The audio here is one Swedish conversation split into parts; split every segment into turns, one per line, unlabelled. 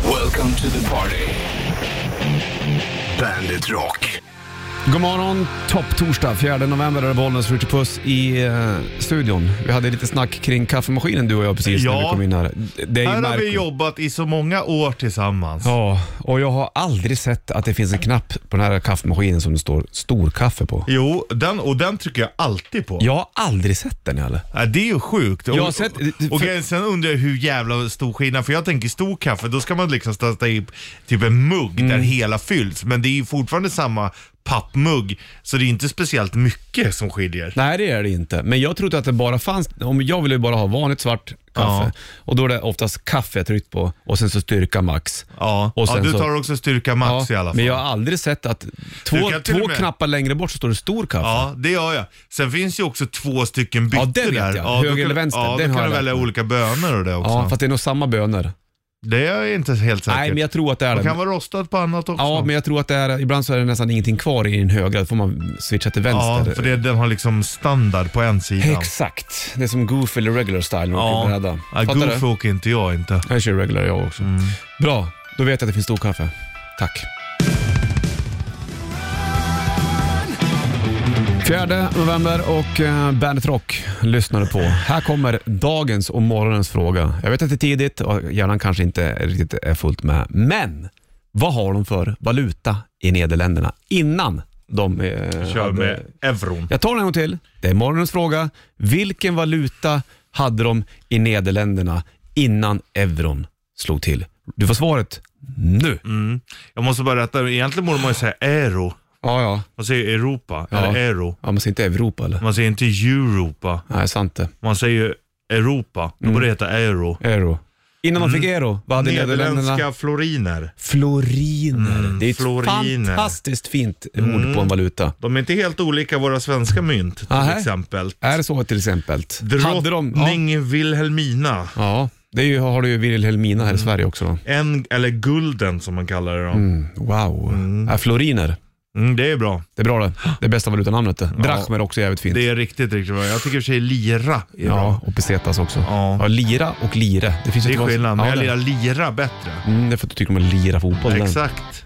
Welcome to the party. Bandit Rock.
God morgon, topptorsdag, 4 november är det Bollnäs Ritchie Puss i eh, studion. Vi hade lite snack kring kaffemaskinen du och jag precis när
Ja.
vi kom in här. Det är ju
Här har vi
märkligt.
jobbat i så många år tillsammans.
Ja, och jag har aldrig sett att det finns en knapp på den här kaffemaskinen som det står storkaffe på.
Jo, den, och den trycker jag alltid på.
Jag har aldrig sett den heller.
Ja, det är ju sjukt.
Jag har
Och-
sett-
och
för-
grejen- sen undrar jag hur jävla stor skillnad, för jag tänker stor kaffe, då ska man liksom sätta i typ en mugg där
Mm.
hela fylls. Men det är ju fortfarande samma pappmugg, så det är inte speciellt mycket som skiljer.
Nej, det är det inte. Men jag trodde att det bara fanns, om jag ville ju bara ha vanligt svart kaffe. Och då är det oftast kaffe jag tryckt på och sen så styrka max.
Ja,
Och
ja
sen
du
så-
tar också styrka max i alla fall.
Men jag har aldrig sett att två,
kan till och
två
med-
knappar längre bort så står det stor kaffe.
Ja, det gör jag. Sen finns ju också två stycken byter
Ja, det vet
där.
jag.
då
Höger
kan-
eller vänster.
Ja,
Den har
då kan
jag
du
lärt
välja
mig.
olika bönor och det också.
Ja, fast det är nog samma bönor.
Det är jag inte helt säker.
Nej, men jag tror att det är
Det
det.
kan vara rostat på annat också.
Ja, men jag tror att det är, ibland så är det nästan ingenting kvar i den högra, då får man switcha till
Ja,
vänster.
för det, den har liksom standard på en sida.
Exakt. Det är som goofy eller regular style när man åker
Ja,
bräda.
ja
Fattar
Goofy
du?
åker inte jag inte.
Jag kör regular jag också.
Mm.
Bra, då vet jag att det finns storkaffe. Tack. Fjärde november och eh, Bandet Rock lyssnar du på. Här kommer dagens och morgonens fråga. Jag vet att det är tidigt och hjärnan kanske inte riktigt är fullt med, men vad har de för valuta i Nederländerna innan de eh,
Kör
hade-
med euron.
jag tar den en gång till. Det är morgonens fråga. Vilken valuta hade de i Nederländerna innan euron slog till? Du får svaret nu.
Jag måste bara rätta, egentligen borde man ju säga euro.
Ja, ja.
Man säger Europa,
Ja.
eller euro.
ja. Man säger inte Europa eller?
Man säger inte Europa,
Nej, sant det.
man säger Europa. Då
Mm.
borde det heta euro.
Euro. Innan de fick euro, vad hade Nederländerna?
Mm. Nederländska floriner.
Floriner.
Mm,
det är ett
floriner. Mm.
fantastiskt fint ord på en valuta.
De är inte helt olika våra svenska mynt till
Aha.
exempel.
Är det så till exempel? Hade de... Ja,
Drottning Wilhelmina.
ja det är ju, har du ju Wilhelmina här
Mm.
i Sverige också. då.
En, eller gulden som man kallar det då. Mm.
Mm, wow. Ja, floriner.
det är bra.
Det är bra det. Det är bästa valutanamnet det. Drachm är också jävligt fint.
Det är riktigt, riktigt bra. Jag tycker i och för sig lira är bra.
Ja, och pesetas också. Ja.
Ja.
lira och lire. Det finns ju
Det är
två-
skillnad, men
Ja,
jag
det-
lirar lira bättre.
Mm, det är för att du tycker om att lira fotboll. den.
Exakt.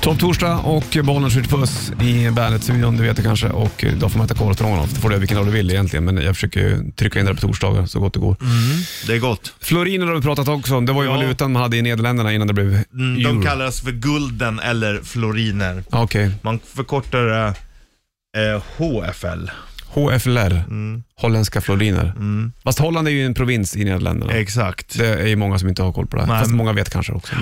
Topp torsdag och bollen skjuter puss i Bandet-studion, du vet det kanske. Och eh, då får man äta kolhydraterna Det får du göra vilken dag du vill egentligen, men jag försöker ju trycka in det på torsdagar så gott det går.
Det är gott.
Floriner har vi pratat också om. Det var ju
Mm. Ja.
valutan man hade i Nederländerna innan det blev
Mm,
euro.
De kallas för gulden eller floriner.
Ja, Okej,
Man förkortar det eh, HFL.
HFLR,
Mm.
holländska floriner. Fast Holland är ju en provins i Nederländerna.
Exakt.
Det är ju många som inte har koll på det här.
Nej.
Fast många vet kanske också.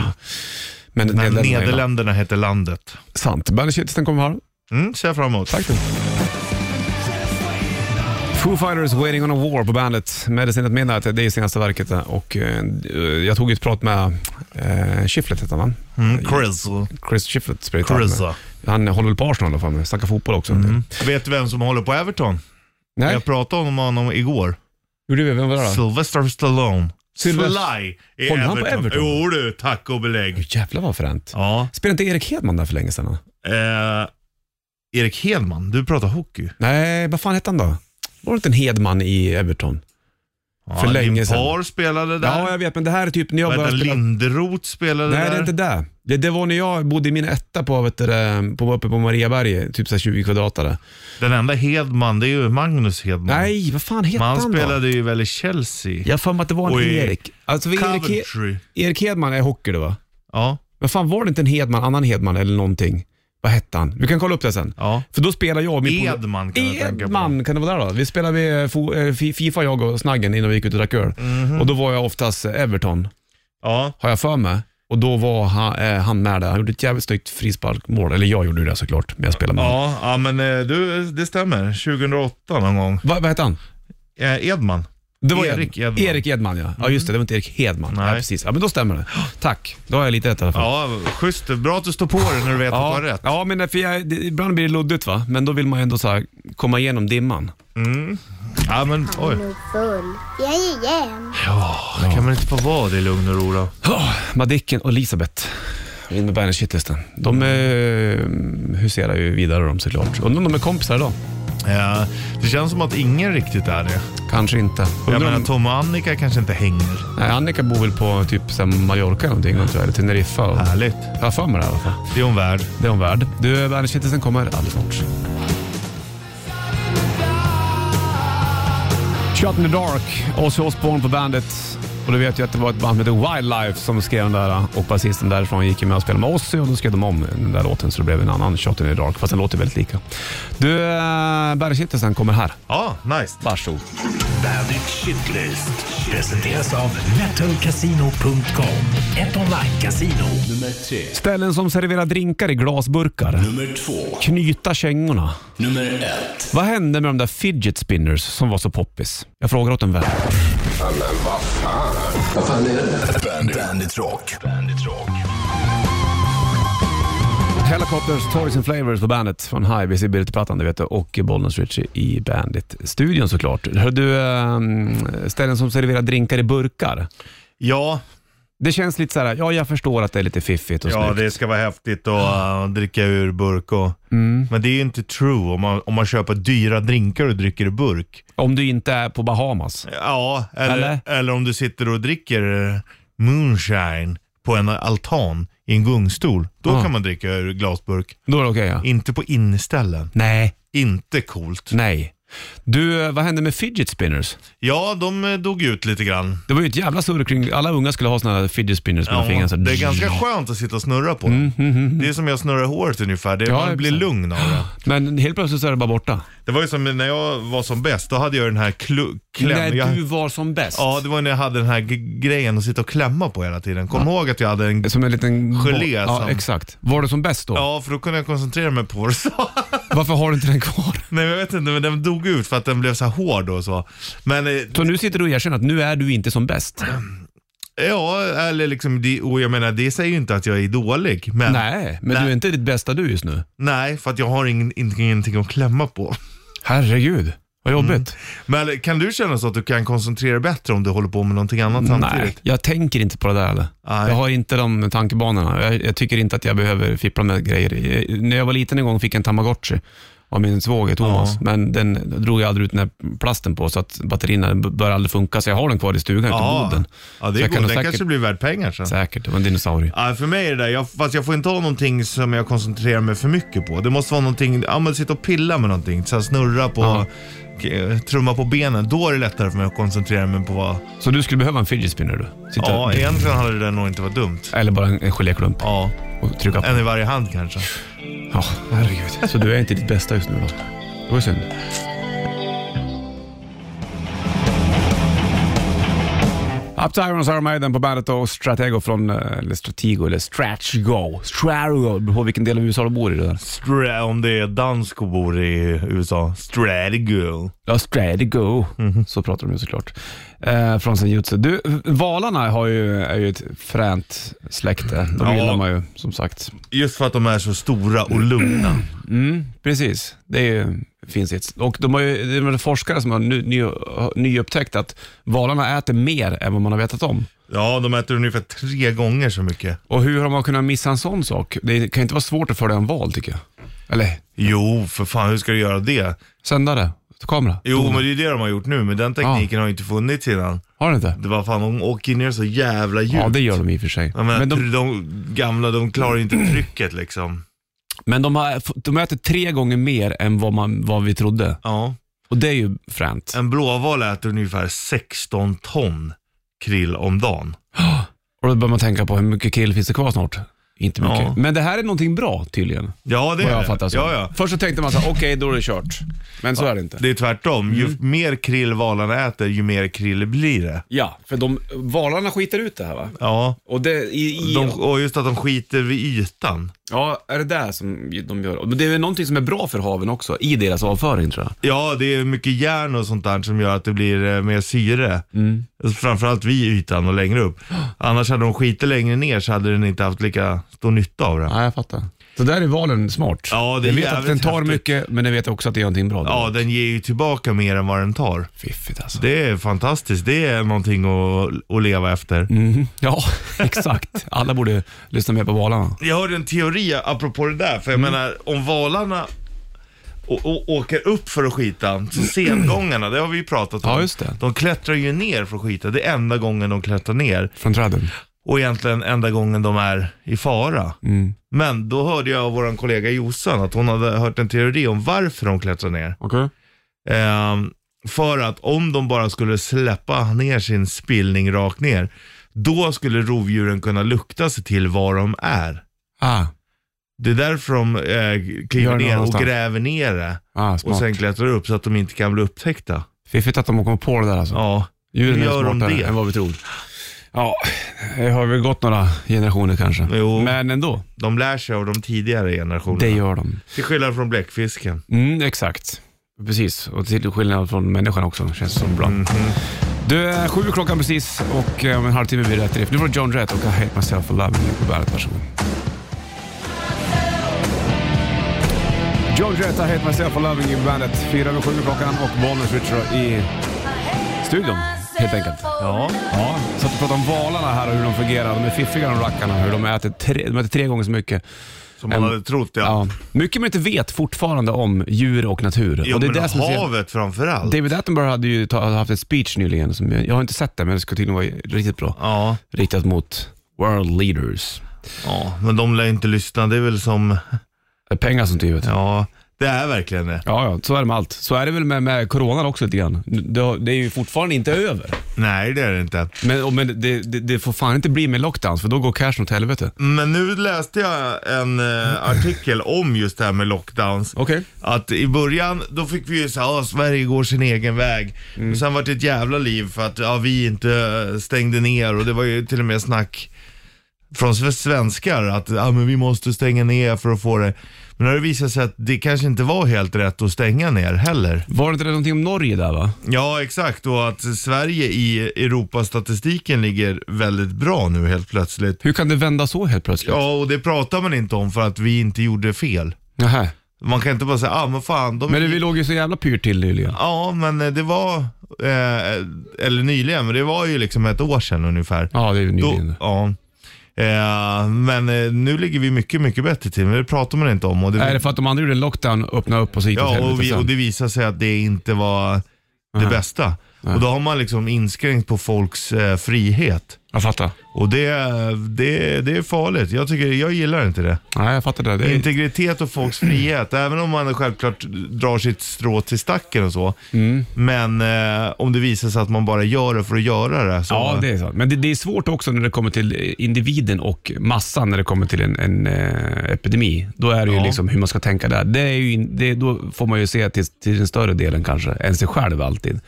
Men
Men
Nederländerna är land.
Nederländerna heter landet.
Sant. Bandet Shit, den kommer halv.
Mm, ser jag fram emot.
Tack du. Foo Fighters Waiting on a War på bandet. Medicin at Midnight, det är ju senaste verket. där. Och, eh, jag tog ett prat med eh, Shiflet, heter han va?
Mm, Chris.
Chris Shiflet spelar gitarr med.
Chris.
Han håller väl på Arsenal i alla fall, men snackar fotboll också.
Mm. Vet du vem som håller på Everton?
Nej,
Jag pratade om honom igår.
gjorde vi? Vem var det då?
Sylvester Stallone.
Sylvester-
Sly i
Håller han på
Everton.
Everton?
Jo du, tack och belägg.
Jävlar vad fränt.
Ja.
Spelade inte Erik Hedman där för länge sedan? då?
Eh, Erik Hedman, du pratar hockey.
Nej, vad fan hette han då? Var det inte en Hedman i Everton?
Ja,
För länge sedan.
Limpar spelade där.
Ja, jag vet, men det här är typ när jag
Vänta,
började spela...
Linderoth spelade
Nej,
där.
det är inte det. det. Det var när jag bodde i min etta på, vet du, det, på uppe på Mariaberget, typ så här 20 kvadratare.
Mm. Den enda Hedman, det är ju Magnus Hedman.
Nej, vad fan hette
Men
han,
han
då?
spelade ju väl i Chelsea.
Jag har för mig att det var en
Och i-
Erik. Alltså, vi- Erik, He-
Coventry.
Erik Hedman är hockey det va?
Ja,
Men fan var det inte en Hedman, annan Hedman eller någonting? Vad hette han? Vi kan kolla upp det sen.
ja.
För då spelar jag och min polare-
Edman kan jag tänka på.
Edman, kan det vara där då? Vi spelade vid fo- eh, Fi- Fifa, jag och Snaggen innan vi gick ut och drack öl.
Mhm.
Och då var jag oftast Everton,
Ja.
har jag för mig. Och då var han, eh, han med där. Han gjorde ett jävligt snyggt frisparkmål. Eller jag gjorde det såklart, men jag spelade med honom.
Ja, ja, men eh, du, det stämmer. 2008 någon gång.
Va, vad hette han?
Eh, Edman.
Det var
Erik Edman. Mm.
Erik Edman, ja. Ja, just det. Det var inte Erik Hedman.
Nej.
Ja, precis. Ja, men då stämmer det. Tack. Då har jag lite rätt i alla fall.
Ja, schysst. Bra att du står på dig när du vet att du har rätt.
ja men eh, för jag, det, ibland blir det luddigt va, men då vill man ju ändå så här, komma igenom dimman.
Ja, men oj.
nog full. Jag är igen.
Kan man inte få vara det i lugn och ro då?
Oh, Madicken och Elisabeth in med
Mm.
Bandet Shitlisten. De eh, huserar ju vidare de såklart. Undrar om de är kompisar idag?
Ja, det känns som att ingen riktigt är det.
Kanske inte.
Jag
Undrar
menar,
om,
Tom och Annika kanske inte hänger.
nej, Annika bor väl på typ så här Mallorca eller någonting, antar jag, eller Teneriffa. Och,
Härligt.
jag har för mig det i alla fall.
Det är hon värd.
Det är hon värd. Du, Bandet kommer alldeles snart. Shot in the Dark, Ozzy Osbourne på bandet. Och du vet ju att det var ett band med The Wildlife som skrev den där och basisten därifrån gick ju med och spelade med Ozzy och då skrev de om den där låten så det blev en annan Shot in the Dark, fast den låter väldigt lika. Du, eh, Bandet kommer här.
Ja, nice.
Varsågod.
Bandit Shitlist presenteras av metalcasino.com. Ett online-casino. Nummer tre.
Ställen som serverar drinkar i glasburkar.
Nummer två.
Knyta kängorna.
Nummer ett.
Vad hände med de där fidget spinners som var så poppis? Jag frågar åt en vän.
Bandit, Bandit Rock. Bandit Rock.
Helicopters, Toys and Flavors på bandet från Highways i Birte-plattan du vet du, och Bollnäs Ritchie i Bandit-studion såklart. Hör du, ehm, ställen som serverar drinkar i burkar.
Ja,
Det känns lite så här, ja jag förstår att det är lite fiffigt och
ja
snyggt.
det ska vara häftigt och äh, dricka ur burk och... Men det är ju inte true om man, om man köper dyra drinkar och dricker i burk.
Om du inte är på Bahamas.
Ja, eller,
Eller?
eller? om du sitter och dricker eh, moonshine på en altan i en gungstol. Då
Ja.
kan man dricka ur glasburk.
Då är det okej ja.
Inte på inneställen.
Nej,
Inte coolt.
nej. Du, eh, vad hände med fidget spinners?
Ja, de eh, dog ut lite grann.
Det var ju ett jävla surr kring, alla unga skulle ha såna här fidget spinners med
Ja,
fingrarna. så- Mm,
det är ganska skönt att sitta och snurra på dem. Det är som jag snurrar håret ungefär. Det,
Ja,
man blir
exakt.
lugn av det.
Men helt plötsligt så är det bara borta.
Det var ju som när jag var som bäst, då hade jag den här klu- kläm...
När
jag...
du var som bäst.
Ja, det var när jag hade den här g- grejen att sitta och klämma på hela tiden. Kom ihåg att jag hade en...
Som en liten...
Gelé, alltså.
Ja,
som-
exakt. Var du som bäst då?
Ja, för då kunde jag koncentrera mig på vad du sa.
Varför har du inte den kvar?
Nej, men jag vet inte, men den dog ut för att den blev så här hård och så. Men eh,
Så nu sitter du och erkänner att nu är du inte som bäst.
ja, eller liksom, det, och jag menar, det säger ju inte att jag är dålig. Men nej,
Nej, men
Nej.
du är inte ditt bästa du just nu.
för att jag har ingen, in- ingenting att klämma på.
Herregud, vad jobbigt.
Men kan du känna så att du kan koncentrera dig bättre om du håller på med någonting annat
Nej,
samtidigt?
jag tänker inte på det där. Eller?
Nej.
Jag har inte de tankebanorna. Jag, jag tycker inte att jag behöver fippla med grejer. Jag, när jag var liten en gång fick jag en tamagotchi av min svåger Thomas, men den drog jag aldrig ut den här plasten på så att batterierna b- började aldrig funka. Så jag har den kvar i stugan ute på boden.
ja, det
Så jag
är
kan
god. Den
nog säkert-
kanske blir värd pengar sen.
Säkert, det var en dinosaurie.
Ja, för mig är det där, jag, fast jag får inte ha någonting som jag koncentrerar mig för mycket på. Det måste vara någonting, ja men sitta och pilla med någonting, så här snurra på,
Ja.
k- eh, trumma på benen. Då är det lättare för mig att koncentrera mig på vad...
Så du skulle behöva en fidget spinner du? Sitta,
Ja, egentligen hade det nog inte varit dumt.
Eller bara en, en geléklump
Ja,
och trycka på.
en i varje hand kanske.
Ja, herregud. Så du är inte ditt bästa just nu då? Det var ju synd. Up to Irons Iron Maiden på bandet och Stratego från, eh, eller Stratego, eller Stratchgo. Stratego, beror på vilken del av USA du bor i det där.
Stra- om det är dansk och bor i USA, Stratego.
Ja, Stratego. Så pratar de ju såklart. Eh, från sin jutsu. Du, valarna har ju, är ju ett fränt släkte. De
Ja.
gillar man ju som sagt.
Just för att de är så stora och lugna.
Mm, precis. Det är ju finns ett. Och de har ju det är väl forskare som har ny, ny, nyupptäckt att valarna äter mer än vad man har vetat om.
Ja, de äter ungefär tre gånger så mycket.
Och hur har man kunnat missa en sån sak? Det kan ju inte vara svårt att följa en val tycker jag. Eller
Jo, för fan hur ska du göra det?
sända det, kamera.
Jo, men det är det de har gjort nu, men den tekniken har ju inte funnits innan.
Har den inte?
Det var fan, de åker ner så jävla djupt.
Ja, det gör de i och för sig.
Jag menar,
Men de,
de... gamla, de klarar inte trycket liksom.
men de, har, de äter tre gånger mer än vad, man, vad vi trodde.
Ja.
Och det är ju fränt.
En blåval äter ungefär 16 ton krill om dagen.
Och då börjar man tänka på hur mycket krill finns det kvar snart? Inte mycket.
Ja.
Men det här är någonting bra tydligen.
Ja, det
Vad
är
jag
det.
fattar så.
Ja, ja.
Först så tänkte man så här, okej då är det kört. Men så är det inte.
Det är tvärtom. Ju
Mm.
mer krill valarna äter, ju mer krill blir det.
Ja, för de, valarna skiter ut det här va?
Ja.
Och det, i, i,
De, och just att de skiter vid ytan.
Ja, är det där som de gör? Men det är väl någonting som är bra för haven också, i deras avföring tror jag.
Ja, det är mycket järn och sånt där som gör att det blir eh, mer syre.
Mm.
Alltså, Framförallt vid ytan och längre upp. Annars hade de skitit längre ner så hade den inte haft lika stor nytta av det.
Ja, jag fattar. Så där är valen smart.
Ja, det är
den vet att
jävligt
den tar
häftigt.
mycket, men den vet också att det är någonting bra.
Ja, den ger ju tillbaka mer än vad den tar.
Fiffigt alltså.
Det är fantastiskt. Det är någonting att, att leva efter.
Mhm. Ja, exakt. Alla borde lyssna mer på valarna. Mm.
Jag hörde en teori apropå det där, för jag menar om valarna och, och åker upp för att skita. Så sengångarna, det har vi ju pratat om.
Ja, just det.
De klättrar ju ner för att skita. Det är enda gången de klättrar ner.
Från träden.
Och egentligen enda gången de är i fara.
Mm.
Men då hörde jag av vår kollega Jossan att hon hade hört en teori om varför de klättrar ner.
Okej.
Ehm, för att om de bara skulle släppa ner sin spillning rakt ner, då skulle rovdjuren kunna lukta sig till var de är.
Ah,
Det är därför de eh,
Gör
kliver
det
ner och
någonstans.
gräver ner det
ah,
och
smart.
sen klättrar upp så att de inte kan bli upptäckta.
Fiffigt att de kommer på det där alltså.
Ja,
Djuren är
gör de
smartare
det?
än vad vi tror. Ja, det har väl gått några generationer kanske.
Jo.
Men ändå,
de lär sig av de tidigare generationerna.
det gör de.
Till skillnad från bläckfisken.
Mm, exakt. Precis, och till skillnad från människan också känns det som bra. Du, är sju klockan precis och eh, om en halvtimme blir det rätt riff. Nu var det John Rett och I Hate Myself for Loving You på bandet. Varsågod. John Rett, I Hate Myself for Loving You på bandet. Fyra över sju klockan och Bollnäs Richard i studion, helt enkelt.
Ja.
Ja, så att du pratar om valarna här och hur de fungerar. De är fiffiga de rackarna, hur de äter tre, de äter tre gånger så mycket.
Som man
Äm,
hade trott ja.
Ja. Mycket man inte vet fortfarande om djur och natur.
Jo,
och
men
som är så jävla-
havet framförallt.
David Attenborough hade ju ta, hade haft ett speech nyligen, som jag, jag har inte sett det, men det skulle tydligen vara riktigt bra.
Ja,
Riktat mot world leaders.
ja, men de lär inte lyssna. Det är väl som,
Det är Pengar som drivet. Ja.
ja, det är verkligen det.
ja, så är det med allt. Så är det väl med, med coronan också lite grann. Det, har- det är ju fortfarande inte över.
Nej, det är det inte.
Men, och, men det, det, det får fan inte bli med lockdowns, för då går cashen åt helvete.
Men nu läste jag en eh, artikel om just det här med lockdowns.
Okej.
Att i början, då fick vi ju såhär, ah, Sverige går sin egen väg. Men sen var det ett jävla liv för att ja, vi inte eh, stängde ner och det var ju till och med snack från sve- svenskar att ah, men vi måste stänga ner för att få det. Men nu har det visat sig att det kanske inte var helt rätt att stänga ner heller.
Var det inte någonting om Norge där va?
Ja, exakt. Och att Sverige i Europastatistiken ligger väldigt bra nu helt plötsligt.
Hur kan det vända så helt plötsligt?
Ja, och det pratar man inte om för att vi inte gjorde fel.
Nähä.
Man kan inte bara säga, ah men fan, de
Men det, vi låg ju så jävla pyrt till nyligen.
Ja, men eh, det var, eh, eller nyligen, men det var ju liksom ett år sedan ungefär.
Ja, det är ju nyligen.
Då, ja. Eh, men eh, nu ligger vi mycket, mycket bättre till, men det pratar man inte om. Och det,
Är det för att de andra gjorde en lockdown, öppnade upp och så gick det åt
ja, och,
helvete
vi,
sen?
och det visar sig att det inte var det
Nej.
bästa. Och då har man liksom inskränkt på folks eh, frihet.
Jag fattar.
Och det, det, det är farligt. Jag, tycker, jag gillar inte det.
Nej, jag fattar det. det är...
Integritet och folks frihet, även om man självklart drar sitt strå till stacken och så.
Mm.
Men eh, om det visar sig att man bara gör det för att göra det. Så,
Ja, det är sant. Men det, det är svårt också när det kommer till individen och massan när det kommer till en, en eh, epidemi. Då är det ju
Ja.
liksom hur man ska tänka där. Det är ju in, det, då får man ju se till, till den större delen kanske, än sig själv alltid.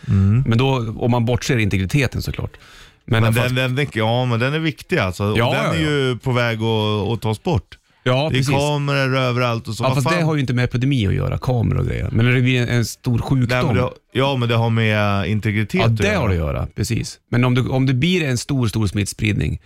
Men då, om man bortser integriteten såklart. Men,
Mm. men
i alla
den,
fall-
den, den, ja, men den är viktig alltså. och
Ja,
den
ja,
är ju på väg att, att tas bort.
ja,
det är
precis.
kameror överallt och så.
Ja,
Vad
fast
fan?
det har ju inte med epidemi att göra, kameror och grejer. Men när det blir en, en stor
Nej,
sjukdom.
men det, har- ja, men det har med integritet
Ja,
att
det
göra.
har det att göra. Precis. Men om det, om det blir en stor, stor smittspridning,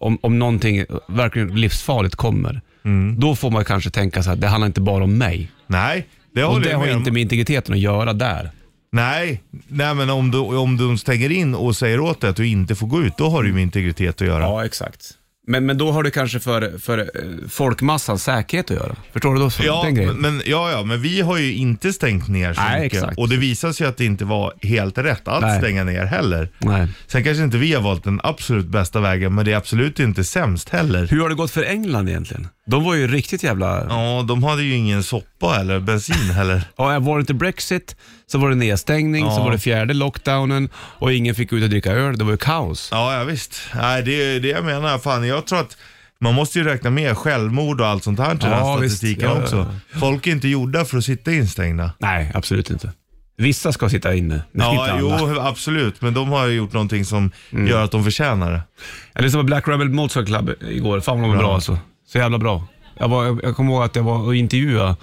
om, om någonting eh, verkligen livsfarligt kommer,
Mm.
då får man kanske tänka så här, det handlar inte bara om mig.
Nej, det
Och
håller
det
jag
har
med om.
inte med integriteten att göra där.
Nej, nej, men om, du, om de stänger in och säger åt dig att du inte får gå ut, då har det ju med integritet att göra.
exakt. Men, men då har det kanske för, för eh, folkmassans säkerhet att göra. Förstår du? Då,
Ja,
den grejen.
men, ja, ja, men vi har ju inte stängt ner så
Nej,
mycket.
exakt.
Och det visar sig att det inte var helt rätt att
Nej.
stänga ner heller.
Nej.
Sen kanske inte vi har valt den absolut bästa vägen, men det är absolut inte sämst heller.
Hur har det gått för England egentligen? De var ju riktigt jävla... Ja.
Ja, de hade ju ingen soppa eller bensin heller.
var det inte Brexit, så var det nedstängning, så
Ja.
var det fjärde lockdownen och ingen fick ut och dricka öl. Det var ju kaos.
Ja, ja visst. Nej, det är det jag menar. Fan, jag tror att man måste ju räkna med självmord och allt sånt här till den
Ja,
här
visst.
statistiken
Ja, ja,
också. Folk är inte gjorda för att sitta instängda.
Nej, absolut inte. Vissa ska sitta inne, men inte
Ja,
alla. Mm.
jo, absolut. Men de har ju gjort någonting som gör att de förtjänar det.
Jag lyssnade på Black Rebel Motorcycle Club igår. Fan vad de var bra alltså. Så jävla bra. Jag, var, jag, jag kommer ihåg att jag var och intervjuade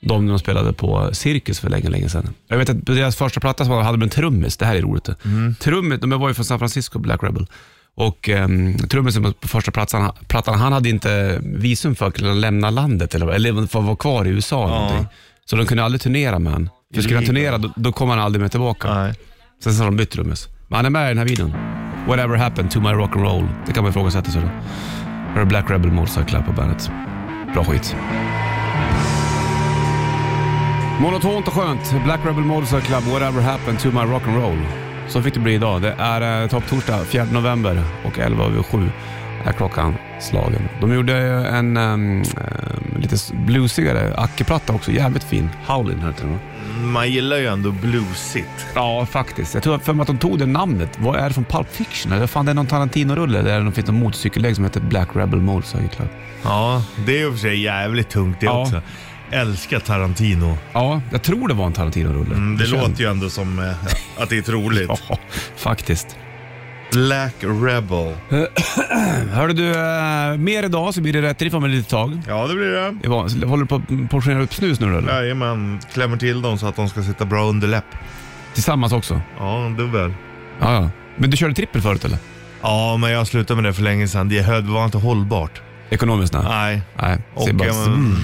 dem när de spelade på Cirkus för länge, länge sedan. Jag vet att på deras första platta som hade med en trummis, det här är roligt.
Mm.
Trummis, de var ju från San Francisco, Black Rebel. Och um, trummisen på första plattan, plattan, han hade inte visum för att kunna lämna landet, eller, eller för att vara kvar i USA. Eller
Ja.
någonting. Så de kunde aldrig turnera med honom. För skulle han turnera, då, då kom han aldrig mer tillbaka.
Nej.
Sen så har de bytt trummis. Men han är med i den här videon. Whatever happened to my rock'n'roll. Det kan man ifrågasätta. så det. Här är Black Rebel Motorcycle Club på bandet. Bra skit. Monotont och skönt. Black Rebel Motorcycle Club, Whatever Happened to My Rock'n'Roll. Så fick det bli idag. Det är eh, topptorsdag 4 november och 11 över 7 är klockan slagen. De gjorde ju en ehm, ehm, lite s- bluesigare ackeplatta också. Jävligt fin. Howlin heter den va?
Man gillar ju ändå bluesigt.
Ja, faktiskt. Jag tror för mig att de tog det namnet. Vad är det från Pulp Fiction? Eller fan, det är någon Tarantino-rulle där det finns någon motorcykellägg som heter Black Rebel Motorcycle Club.
Ja, det är ju för sig jävligt tungt det
Ja.
också. Älskar Tarantino.
Ja, jag tror det var en Tarantino-rulle.
Mm, det låter ju ändå som eh, att det är troligt.
Ja, faktiskt.
Black Rebel.
Hörde du, eh, mer idag så blir det rätt riff om ett litet tag.
Ja, det blir det.
Ivan, Håller du på att portionera upp snus nu då, eller?
Jajamän, klämmer till dem så att de ska sitta bra under läpp.
Tillsammans också?
Ja, en dubbel.
Ja, ja. Men du körde trippel förut eller?
Ja, men jag slutade med det för länge sedan. Det höll- var inte hållbart.
Ekonomiskt? Nej.
Nej.
Nej,
Och,
ser bara...
eh,
Mm.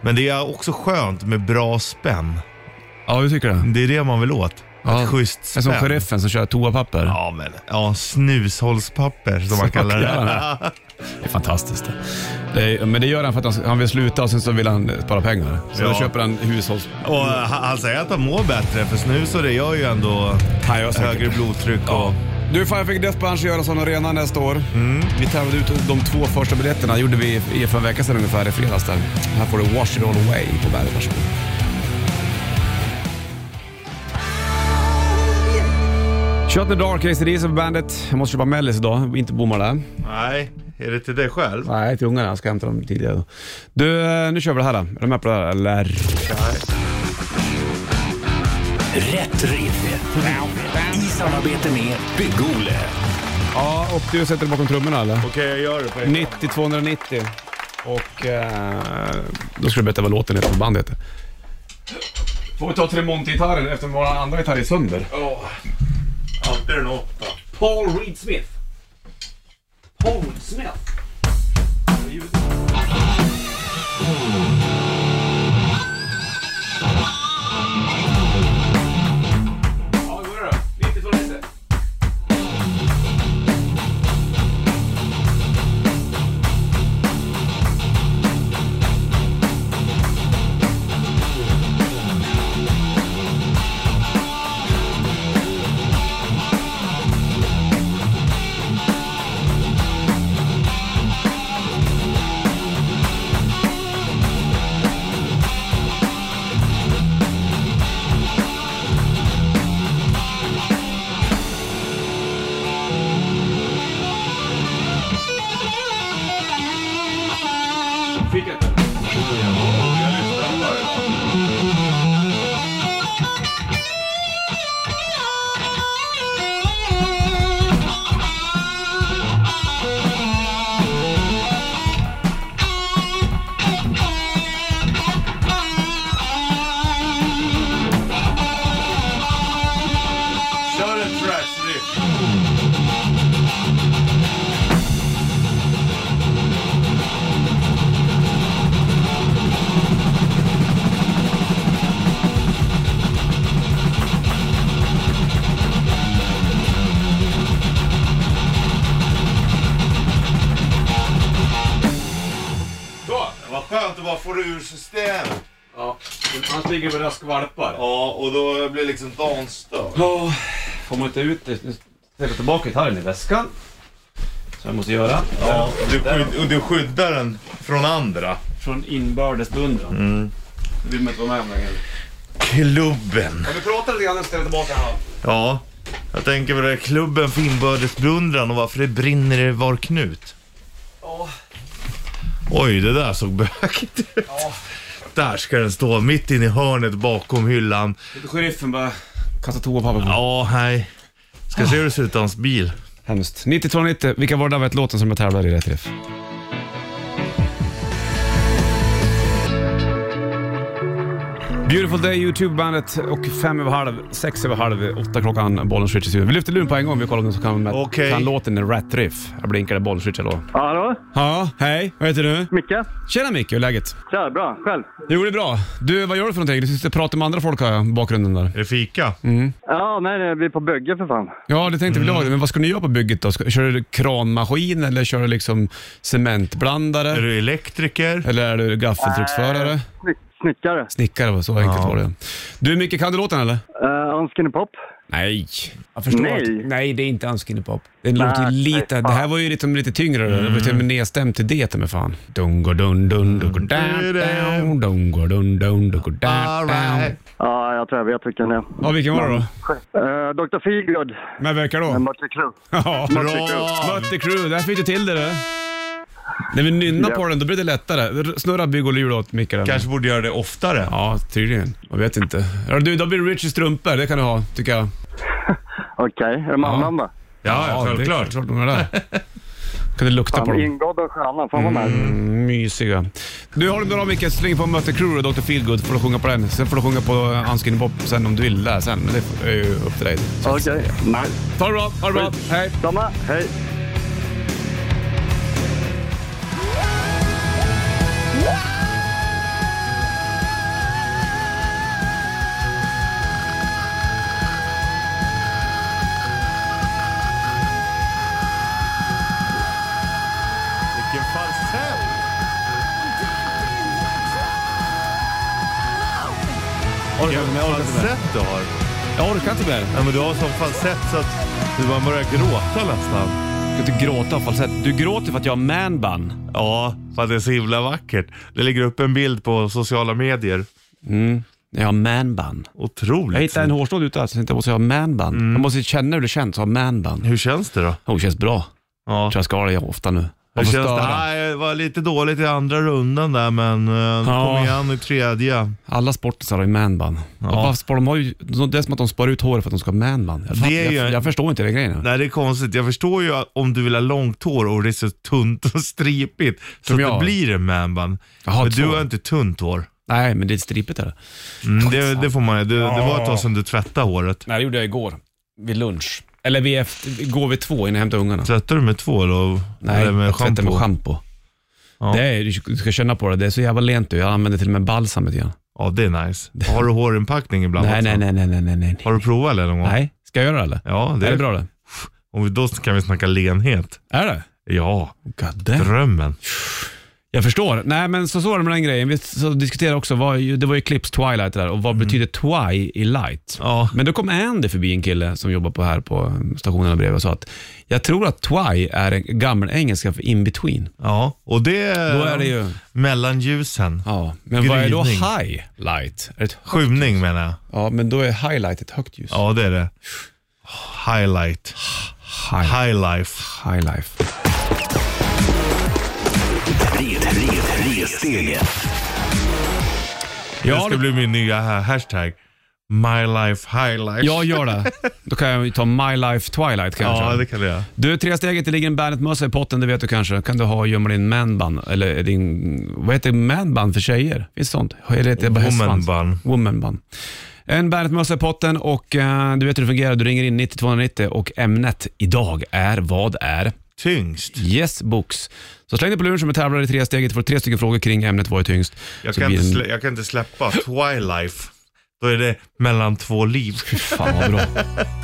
men det är också skönt med bra spänn.
Ja, hur tycker du?
Det är det man vill åt.
Ja,
Ett schysst
En
spänn.
som sheriffen som kör toapapper.
Ja, men ja, snushållspapper som man kallar det.
Det är fantastiskt. det. Det är, men det gör han för att han, han vill sluta och sen så vill han spara pengar. Så
Ja.
då köper han hushålls...
Och eh, han han säger att han mår bättre för snus och det gör ju ändå
Han gör säkert
högre
det.
blodtryck och...
Du, fan jag fick Death Punch göra sådana rena nästa år. Vi tävlade ut de två första biljetterna. gjorde vi i- för en vecka sedan ungefär, i fredags där. Här får du Wash It All Away på bandet. Varsågod. Shut the Dark, ACDC på bandet. Jag måste köpa mellis idag, inte bomma där.
Nej, är det till dig själv?
Nej, till ungarna. Jag ska hämta dem tidigare. då. Du, eh, nu kör vi det här då. Är du med på det här eller?
Rätt riff. I samarbete med Bygg-Ole.
Ja, och du sätter dig bakom trummorna eller?
Okej, jag gör det på en
90 290. Och eh, då ska du berätta vad låten heter, vad bandet heter. Får vi ta Tremonti-gitarren eftersom vår andra gitarr är sönder?
Alltid en åtta.
Paul Reed Smith. Paul Reed Smith. Ja, hur är det? 90 290. Fick jag inte.
Kör ett thrash-riff. Vad skönt att bara få det ur systemet.
Ja, han ligger med raskvalpar.
Ja, och då blir liksom dagen störd.
Ja, får man inte ut det, nu sätter jag tillbaka gitarren i väskan. Som jag måste göra.
Ja, du, skyd- och du skyddar den från andra.
Från inbördes beundran.
Mm.
Det vill man inte vara med om längre.
Klubben.
Om vi pratar lite grann och ställer tillbaka den här.
Ja, jag tänker på det här klubben för inbördes beundran och varför det brinner i var knut.
Ja.
Oj, det där såg bökigt ut.
Ja.
Där ska den stå, mitt inne i hörnet bakom hyllan.
Lite Sheriffen bara kastar toapapper på.
Ja, hej. Ska se hur det ser ut i hans bil.
Hemskt. 9290, vilka var det där låten som jag tävlade i Rätt Riff? Beautiful Day, Youtube-bandet och fem över halv, sex över halv, åtta klockan, bollen switches ut. Vi lyfter luren på en gång, vi kollar om den som kan,
Okej.
kan låten i Rätt Riff. Jag blinkade bollen switch, hallå.
Hallå?
Ja, hej, vad heter du?
Micke?
Tjena Micke, hur är läget?
Tja, bra. Själv?
Jo, det är bra. Du, vad gör du för någonting? Du sitter och pratar med andra folk här i bakgrunden där.
Är det fika?
Ja, nej, nej vi är på bygge för fan.
Ja, det tänkte väl
Mm.
jag. Men vad ska ni göra på bygget då? Ska, kör du kranmaskin eller kör du liksom cementblandare?
Är du elektriker?
Eller är du gaffeltrucksförare?
Snick, Snickare.
Snickare, var så enkelt var det. Du, Micke, kan du låten eller?
Uh, Unskinny Pop.
Nej. Jag förstår
Nej.
Att, nej, det är inte Unskinny Pop. Det
Nej,
låter ju
nej,
lite...
fan.
det här var ju liksom lite tyngre. Det var till och med nedstämt till det, men fan. Dungo dun dun dungo down down dungo dun dun dungo down down.
Alright.
Ja, jag tror jag vet vilken det är.
Ja, vilken var det då?
Eh, Dr. Feelgood
Med vilka
med
då?
Mötley Crüe.
Ja,
Bra!
Mötte Crew. Där fick du till det du. När vi nynnar
Ja.
på den, då blir det lättare. R- Snurra bygg och lur åt Micke där.
Kanske borde göra det oftare.
Ja, tydligen. Jag vet inte. Ja, Du, då blir det Richie strumpor. Det kan du ha, tycker jag.
Okej, är det mamman då?
Ja,
det är klart de är där. Kan du lukta på
Fan,
dem?
Ingård och Stjärnan. Fan vad nice.
Mm, mysiga. Du, har det bra Micke. Släng på Mötley Crüe och Dr. Feelgood får du sjunga på den. Sen får du sjunga på Unskinny Pop sen om du vill där sen. Men det är ju upp till dig.
Okej, nice.
Ta det bra, ha det bra. Hej!
Samma, hej.
Vilken falsett! Vilken falsett du har.
Jag orkar inte mer.
Ja, men du har sån falsett så att du bara börjar gråta nästan.
Jag kan inte gråta av falsett. Du gråter för att jag har manbun.
Ja, för att det är så himla vackert. Det ligger upp en bild på sociala medier.
Jag har manbun.
Otroligt.
Jag hittade en hårstråd ute här, så jag tänkte jag måste ha manbun. Jag måste känna hur det känns att ha manbun.
Hur känns det då?
Oh, det känns bra.
Ja.
Jag tror jag ska ha det ofta nu.
Hur
Jag får
känns det?
störa.
Nej, det var lite dåligt i andra rundan där, men eh,
Ja.
kom igen i tredje.
Alla sportisar har ju manbun. Ja. De har ju, det är som att de spar ut håret för att de ska ha manbun. Jag, fatt-
är ju-
jag, jag förstår inte den grejen.
Nej, det är konstigt. Jag förstår ju att om du vill ha långt hår och det är så tunt och stripigt så
Som
att
jag
det
har.
blir en manbun.
Jaha,
Men du
så.
har inte tunt hår.
Nej, men det är stripigt är det.
Mm, det, det får man det, det var ett tag sedan du tvättade håret.
Nej, det gjorde jag igår. Vid lunch. Eller vid efter, igår vid två innan jag hämtade ungarna.
Tvättade du med tvål och,
Nej,
eller med
jag tvättade
schampo?
med schampo.
Ja.
Det är, du ska känna på det, det är så jävla lent du. Jag använder till och med balsam lite grann.
Ja, det är nice. Har du hårinpackning ibland
Nej,
också?
nej, nej, nej, nej, nej, nej.
Har du provat eller någon gång?
Nej, ska jag göra det eller?
Ja, det
Är det bra det?
Om vi, då kan vi snacka lenhet.
Är det?
Ja,
God damn.
drömmen.
Jag förstår. Nej, men så, så var det med den grejen. Vi så diskuterade också, vad, ju- det var ju Clips Twilight där och vad betyder twi i light?
Ja.
Men då kom Andy förbi en kille som jobbar på här på um, stationen bredvid och sa att jag tror att twi är en gammal engelska för in between.
Ja, och det
Då är det ju...
mellan ljusen.
Ja, men vad är då
Gryning.
high light? Är det ett,
Skymning menar jag.
ja, men då är highlight ett högt ljus.
Ja, det är det. Highlight.
High,
High life.
high life.
Red, red, ressteget.
Det
Ja,
ska
det-
bli min nya ha- hashtag. My life, high life.
jag gör det. Då kan jag ju ta My Life Twilight kanske.
ja det kan jag göra.
Du, tre steget, det ligger en Bandet-mössa i potten, det vet du kanske. kan du ha och gömma din manbun, eller din, vad heter manbun för tjejer? Finns det sånt? Eller heter det bara hästsvans?
Woman bun.
Woman bun. En Bandet-mössa i potten och eh, du vet hur det fungerar. Du ringer in 9290 och ämnet idag är, vad är?
Tyngst.
Yes books. Så släng dig på luren som är tävlare i tre steget, får tre stycken frågor kring ämnet, vad är tyngst?
Jag
Så
kan,
blir
inte
det-
slä, jag kan inte släppa Twilife. Då är det mellan två liv.
Fan vad bra.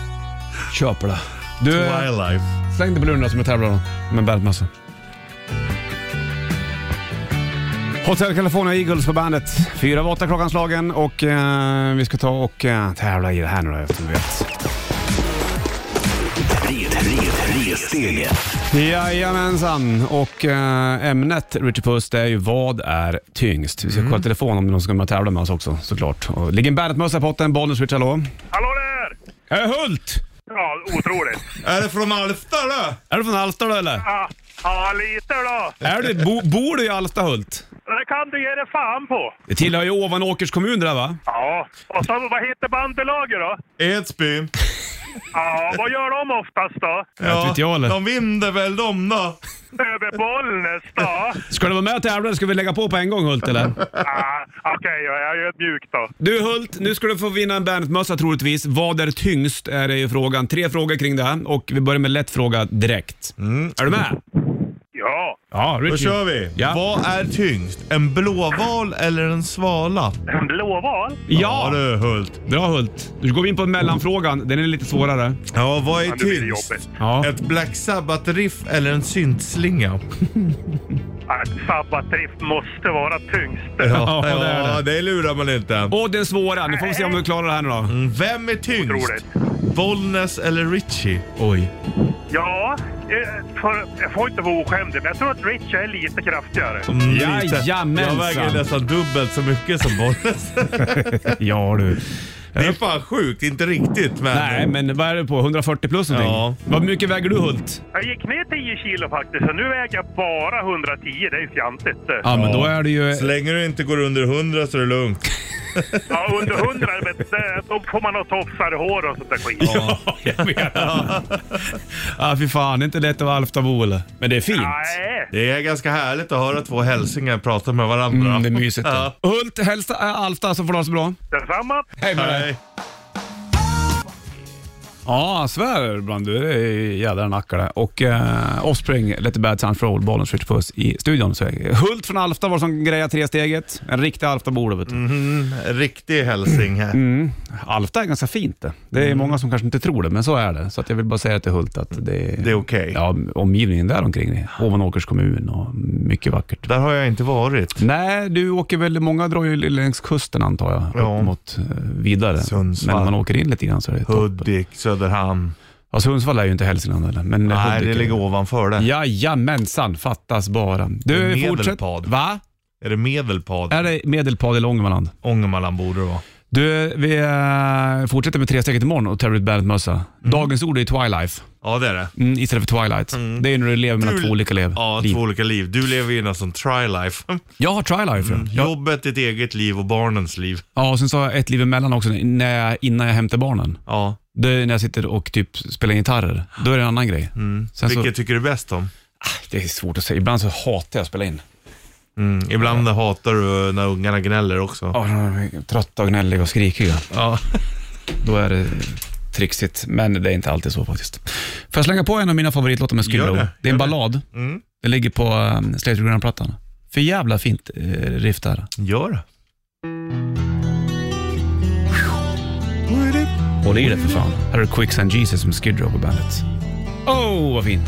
Köper det. Du,
Twilife.
släng dig på luren då som är tävlare med bandmössa. Hotel California Eagles på bandet. Fyra av åtta klockan slagen och eh, vi ska ta och eh, tävla i det här nu då eftersom vi vet.
Red, red, ressteget.
Jajamensan och eh, ämnet Richard Puss det är ju vad är tyngst? Vi ska kolla telefon om någon ska med tävla med oss också såklart. Och, ligger en bandetmössa i potten, Bollnäs Richard hallå?
Hallå där!
Är det Hult?
Ja, otroligt.
Är det från Alfta då?
Är du från Alsta då eller?
Ja, ja lite då.
Är du, bo, bor du i Alsta Hult?
Det kan du ge dig fan på.
Det tillhör ju Ovanåkers kommun det där va?
Ja, och så vad heter bandelaget då?
Edsbyn.
Ja, vad gör de oftast då?
Vet inte jag eller?
de vinner väl de då.
Över Bollnäs då?
Ska du vara med och tävla eller ska vi lägga på på en gång Hult eller?
Ja, Okej, jag är ödmjuk då.
Du Hult, nu ska du få vinna en Berntmössa troligtvis. Vad är tyngst är det ju Mm, frågan. Tre frågor kring det här och vi börjar med lätt fråga direkt. Är du med?
Ja,
Ja,
Då
Richie.
kör vi.
Ja.
Vad är tyngst? En blåval eller en svala?
En blåval?
Ja,
ja du Hult.
bra Hult. Nu går vi in på mellanfrågan. Den är lite svårare.
Ja, vad är
Ja, nu blir det
tyngst?
jobbigt.
Ja.
Ett Black Sabbath-riff eller en syntslinga?
Att Sabbatdrift måste vara tyngst.
Ja, det är det.
Ja, det lurar man inte. Mm.
Och den svåra. Nu får vi se om vi klarar det här nu då.
Vem är tyngst?
Otroligt.
Bollnäs eller Richie? Mm,
Oj.
Ja, eh, för, jag får inte vara oskämd, men jag tror att Rich är lite kraftigare.
Lite.
Jajamensan.
Jag väger nästan dubbelt så mycket som Bollnäs.
Ja du.
det är fan sjukt, inte riktigt men...
Nej, men vad är det på? 140 plus någonting?
Ja.
Vad mycket väger du Hult?
Jag gick ner 10 kilo faktiskt, så nu väger jag bara 110. Det är ju fjantigt.
Ja, men då är det ju...
Så länge du inte går under 100 så är det lugnt.
Ja, under 100, vet du, då får man ha tofsare hår och sånt där skit.
Ja, jag vet. ja, Ah, fy fan. Det är inte lätt att vara Alftabo eller? Men det är fint.
Nej,
Det är ganska härligt att höra två hälsingar prata med varandra.
Mm, det är mysigt.
Ja.
Ja. Hult, hälsa äh, Alfta så får du ha det så bra.
detsamma.
Hej med dig.
Nej.
Ja, han svär ibland. Du det är ju jädra nackare. Och eh, Offspring, Let the bad sound roll, bollen switch puss i studion. Så, Hult från Alfta var det som grejade tresteget. En riktig Alftabo då, vet du.
Mm. Riktig hälsing här.
Mm. Alfta är ganska fint det. Det är
Mm.
många som kanske inte tror det, men så är det. Så att jag vill bara säga till Hult att det är,
Det är okej.
ja, omgivningen där omkring. Ovanåkers kommun och mycket vackert.
Där har jag inte varit.
Nej, du åker väl, många drar ju längs kusten antar jag,
Ja.
upp mot eh, vidare.
Sundsvall.
Men om man åker in lite grann så är det toppen.
Hudik, Söderhamn.
Ja, Sundsvall är ju inte Hälsingland heller. Men
Nej,
Hudik
det
är-
ligger ovanför det.
Jajamensan, fattas bara. Du,
Medelpad.
fortsätt. Va?
Är det Medelpad?
Är det Medelpad eller Ångermanland?
Ångermanland borde det vara.
Du, vi eh, fortsätter med tresteget imorgon och Terry Bandet-mössa.
Mm.
Dagens ord är Twilife
Ja, det är det.
mm, istället för Twilight. Det är när du lever mellan
Du-
två olika lev.
Ja,
liv.
två olika liv. Du lever ju nästan tri-life.
Jag har Trilife. Mm. Ja.
Jobbet, ditt eget liv och barnens liv.
ja, och sen så har jag ett liv emellan också när jag, innan jag hämtar barnen.
Ja.
Det är när jag sitter och typ spelar gitarrer. Då är det en annan grej. Sen så,
Mm. Vilket tycker du bäst om?
det är svårt att säga. Ibland så hatar jag att spela in.
Mm. Ibland hatar du när ungarna gnäller också.
Ja, de är trötta och gnälliga och skrikiga.
Ja.
Då är det trixigt, men det är inte alltid så faktiskt. Får jag slänga på en av mina favoritlåtar med Skid
Gör
Row?
det,
Det, är
gör
en
det.
ballad.
Mm.
Den ligger på um, Slater Ground-plattan. För jävla fint eh, riff där.
Gör det.
Håll i det för fan. Här är Quicksand Jesus med Skid Row på bandet. Oh, vad fin.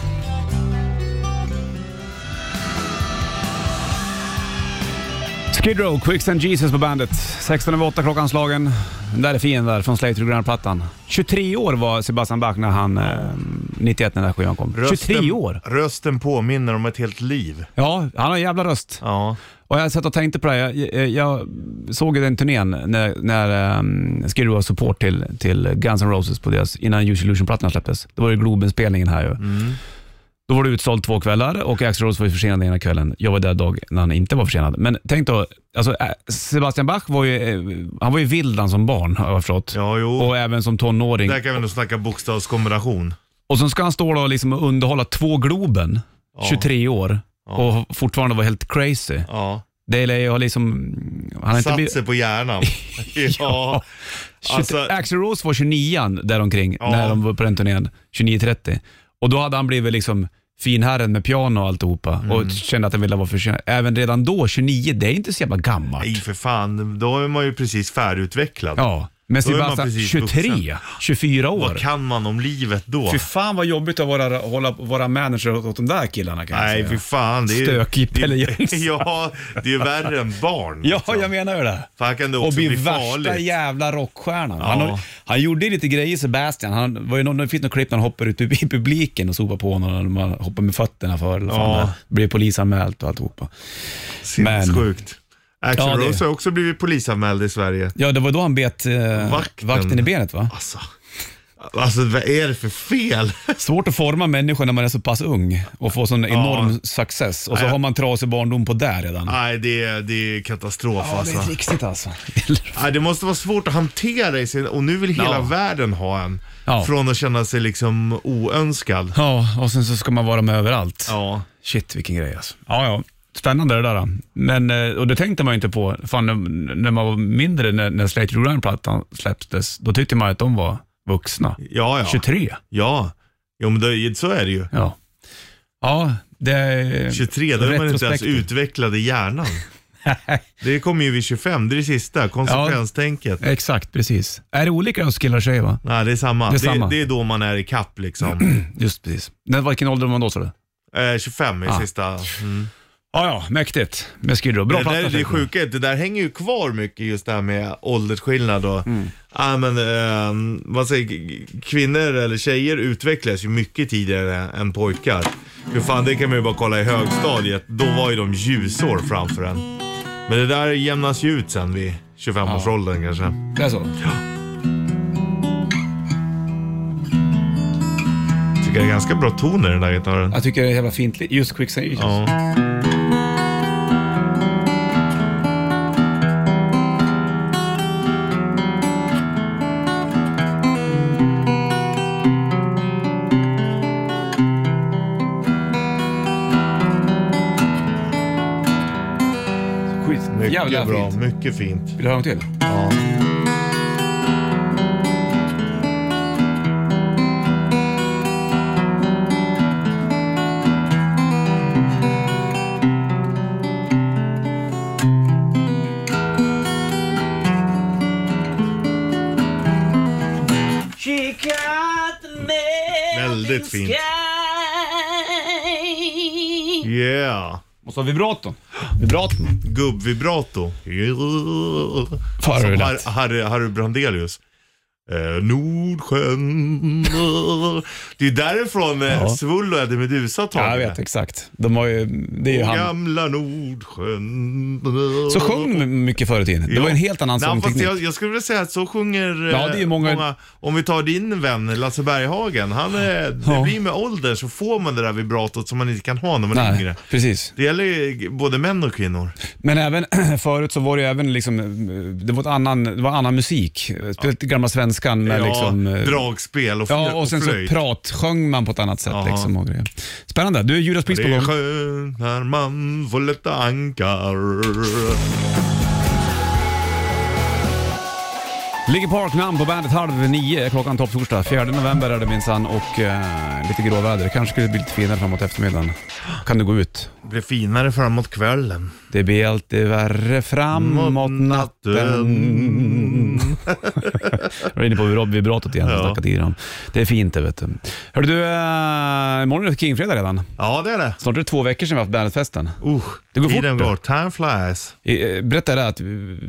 Skid Row, Quicksand Jesus på bandet. 16 över 8 klockan slagen. Den där är fin där, från Slater Ground-plattan. 23 år var Sebastian Bach när han, eh, 91 när den här skivan kom. 23 år!
Rösten påminner om ett helt liv.
Ja, han har en jävla röst.
Ja.
Och jag satt och tänkte på det. här. Jag, jag, jag såg ju den turnén när, när um, Skid Row var support till, till Guns N' Roses på deras, innan Use Illusion-plattan släpptes. Det var ju Globen-spelningen här ju.
Mm.
Då var det utsålt två kvällar och Axl Rose var ju försenad ena kvällen. Jag var där dag när han inte var försenad. Men tänk då, alltså, eh, Sebastian Bach var ju, eh, han var ju vild han som barn har jag förstått.
Ja, jo.
Och även som tonåring.
Där kan vi nog snacka bokstavskombination.
Och sen ska han stå då och liksom underhålla två Globen, 23 år, och fortfarande vara helt crazy.
Ja.
Det är jag har liksom... Han har inte
Satt
blivit...
sig på hjärnan. ja. Alltså-
Axl Rose var 29 däromkring
Ja.
när de var på den turnén, 29-30. Och då hade han blivit liksom finherren med piano och alltihopa
Mm.
och kände att han ville vara försenad. Även redan då, 29, det är inte så jävla gammalt.
Nej, för fan. Då är man ju precis färdigutvecklad.
Ja, men
Då är man
Sebastian,
precis
23,
vuxen.
24 år.
Vad kan man om livet då?
Fy fan vad jobbigt att vara, hålla, vara manager åt, åt de där killarna kan
Nej,
jag
fy
säga.
fan. Det är,
Stökig Pelle Jönsson.
Ja, det är ju värre än barn.
Ja,
liksom.
jag menar ju det.
Fan kan det
Och
också
bli
bli
värsta
farligt.
jävla rockstjärnan. Han,
Ja.
har- han gjorde ju lite grejer Sebastian. Han var ju någon, det finns något klipp när han hoppar ut i publiken och sopar på honom och man hoppar med fötterna för eller fan,
Ja.
det Blir polisanmält och alltihopa.
Sinnessjukt. Axl
Ja, det-
Rose har också blivit polisanmäld i Sverige.
Ja, det var då han bet eh, vakten.
Vakten.
i benet va?
Alltså. Alltså vad är det för fel?
Svårt att forma människor när man är så pass ung och få sån enorm success. Och så
Nej.
har man trasig barndom på där redan.
Nej, det är, det är katastrof
Ja, det
alltså.
är trixigt alltså.
Nej, det måste vara svårt att hantera i sin, och nu vill hela
Ja.
världen ha en.
Ja.
Från att känna sig liksom oönskad.
ja, och sen så ska man vara med överallt.
Ja.
Shit vilken grej alltså. Ja, ja. Spännande det där. Då. Men, eh, och det tänkte man ju inte på. Fan, när- när man var mindre, när, när Slater Roland-plattan släpptes, då tyckte man att de var vuxna.
Ja, ja.
23.
Ja. Jo, men det, så är det ju.
Ja. Ja, Det är
23, då är man inte ens
retrospektiv.
utvecklad i hjärnan. Det kommer ju vid 25, det är det sista. Konsekvenstänket.
Exakt, precis. Är det olika hos killar och tjejer va?
Nej, det är
Det
samma. Det
är
är,
samma.
Det, är då man är i kapp liksom.
Just precis. Men vilken ålder var man då sa du?
eh, 25 är sista. Mm.
Ja, ja, mäktigt. Med Skid Row. Bra
Det,
platta.
där, det
tänker
är
jag.
sjuka, är att det där hänger ju kvar mycket just det här med åldersskillnad och,
Mm.
ah, men, eh, man säger, k- kvinnor eller tjejer utvecklas ju mycket tidigare än pojkar. Hur fan, det kan man ju bara kolla i högstadiet, då var ju de ljusår framför en. Men det där jämnas ju ut sen vid 25-årsåldern kanske.
Det är så?
Tycker det är ganska bra toner i den där gitarren.
Jag tycker det är jävla fint. li- Just Quicksand Ages.
Ja.
Skit.
Mycket
Jävla
bra,
fint.
mycket fint.
Vill du höra en till?
Ja.
She got the melting
Mm. Väldigt fint.
sky.
Yeah.
Måste ha vibraton. Vibraton.
Gubbvibrato.
Fan, det är
Som
lätt.
Har- Harry, Harry Brandelius. Eh, Nordsjön. det är därifrån eh,
Ja.
Svullo och Eddie Meduza tar
Ja, jag
det.
vet exakt. De har ju, det är ju han.
Gamla Nordsjön.
Så sjöng de mycket förr i tiden. Det var en helt annan
Nej, fast
sångteknik.
jag, jag skulle vilja säga att så sjunger eh,
Ja, det är ju många-
Om vi tar din vän Lasse Berghagen. Han, eh,
Ja.
Det blir med åldern så får man det där vibratot som man inte kan ha när man är
Nej,
yngre.
precis.
Det gäller ju både män och kvinnor.
Men även förut så var det ju även liksom, eh, det var, ett annan, det var annan musik. Speciellt gamla svenskan med
ja,
liksom... eh,
dragspel och,
Ja,
flö-
och sen så
flöjt.
pratsjöng man på ett annat sätt.
Jaha.
Liksom, och grejer. Spännande. Du, Judas Priest
Det
på
är
gång.
skönt när man får lätta ankar.
Ligger Park namn på bandet halv nio, klockan topp torsdag. 4 november är det minsann och eh, lite gråväder. Det kanske skulle bli lite finare framåt eftermiddagen. Kan du gå ut?
Det blir finare framåt kvällen.
Det blir alltid värre framåt natten. Jag var inne på Rob vibratot igen, ja.
Ja.
snackat tidigare om. Det är fint det vet du. Hörru du, eh, imorgon är det Kingfredag redan.
Ja, det är det.
Snart är det två veckor sedan vi har haft bandetfesten.
Usch,
Det går fort,
tiden
du.
går. Time flies.
Eh, Berättade jag att eh,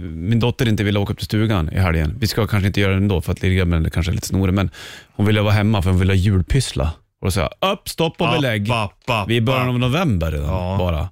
min dotter inte ville åka upp till stugan i helgen. Vi ska kanske inte göra det ändå för att lillgrabben kanske är lite snorig, men hon ville vara hemma för hon ville ha julpyssla. Och då sa jag, upp, stopp och belägg.
App, app, app,
Vi är i början av november redan
Ja.
bara.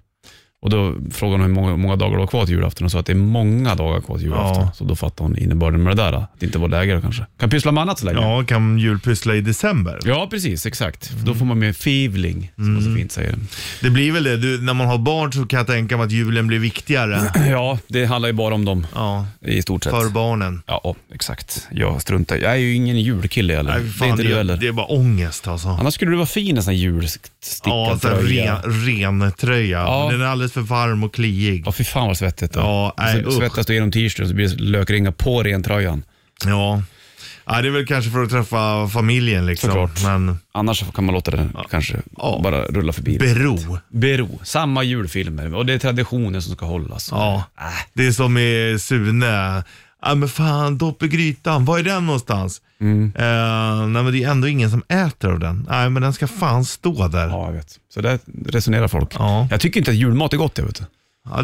Och då frågade hon hur många, många dagar det var kvar till julafton och sa att det är många dagar kvar till julafton.
Ja.
Så då fattade hon innebörden med det där. Att det inte var läge då kanske. Kan pyssla med annat så länge.
Ja, kan julpyssla i december.
Ja, precis. Exakt. Då får man mer feeling, som man så
Mm.
fint säger.
Det blir väl det. Du, när man har barn så kan jag tänka mig att julen blir viktigare.
Ja, det handlar ju bara om dem
Ja,
i stort sett.
för barnen.
Ja, och- exakt. Jag struntar Jag är ju ingen julkille heller.
Nej,
det är
fan,
inte
det,
du
är
heller.
det är bara ångest alltså.
Annars skulle du vara fin i sån här julstickad
Ja, så här
tröja.
ren, ren tröja.
Ja.
Men Den är alldeles för varm och kliig.
Ja, fy fan vad svettigt. då.
Ja,
Och
nej,
så
usch.
svettas du genom t-shirten och så blir det lökringar på rentröjan.
Ja. ja, det är väl kanske för att träffa familjen liksom.
Såklart.
Men
Annars så kan man låta det kanske
Ja.
bara rulla förbi.
bero.
Bero. Samma julfilmer och det är traditionen som ska hållas.
Ja, det är som i Sune. Ja men fan, dopp i grytan, var är den någonstans?
Mm.
Eh, nej men det är ändå ingen som äter av den. Nej men den ska fan stå där. Ja,
Ja, jag vet. Så där resonerar folk.
Ja.
Jag tycker inte att julmat är gott. Jag vet.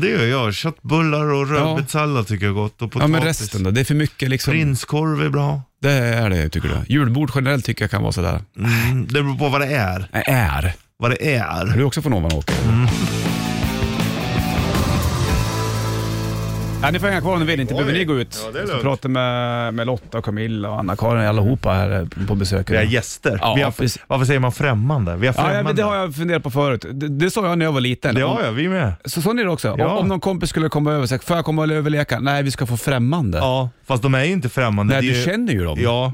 det gör jag. Köttbullar och rödbetssallad tycker jag är gott. Och
Ja,
potatis.
men resten då? Det är för mycket liksom.
Prinskorv är bra.
Det är det, tycker du. Julbord generellt tycker jag kan vara sådär. Äh.
Mm, det beror på vad det är.
Nej, Är.
Vad det
Är
är.
du också från Ovanåker?
Mm.
Ja, ni får hänga kvar om ni vill, inte behöver ni gå ut.
Ja, det är
Så
lugnt.
pratar med, med Lotta, och Camilla och Anna-Karin allihopa här eh, på besök.
Vi har gäster.
Ja,
vi har,
precis.
varför säger man främmande? Vi har
Ja,
främmande.
ja, men det har jag funderat på förut. Det, det sa jag när jag var liten.
Det
Om-
har jag, vi med.
Så sa ni det också?
Ja.
Om- Om någon kompis skulle komma över och säga, får jag komma och överleka? Nej, vi ska få främmande.
Ja, fast de är ju inte främmande.
Nej,
Det är
du
ju-
känner ju dem.
Ja.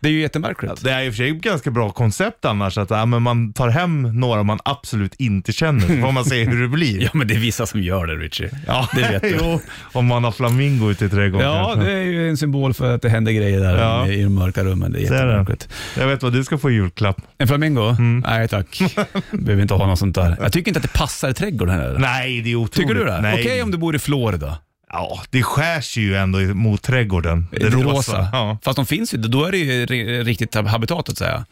Det är ju jättemärkligt.
Det är i och för sig ett ganska bra koncept annars, att ja, men man tar hem några man absolut inte känner, så får man se hur det blir.
Ja, men det är vissa som gör det, Richie.
Ja,
det vet du.
jo, om man har flamingo ute i trädgården.
Ja, det är ju en symbol för att det händer grejer där
Ja.
i de mörka rummen. Det är
Ser du?
jättemärkligt.
Jag vet vad du ska få i julklapp.
En flamingo?
Mm.
Nej tack. Behöver inte ha något sånt där. Jag tycker inte att det passar i trädgården heller.
Nej, det är otroligt.
Tycker du det?
Nej.
Okej om du bor i Florida.
Ja, det skär sig ju ändå mot trädgården.
Det är rosa.
Ja.
Fast de finns ju, då är det ju ri- riktigt hab- habitat så att säga.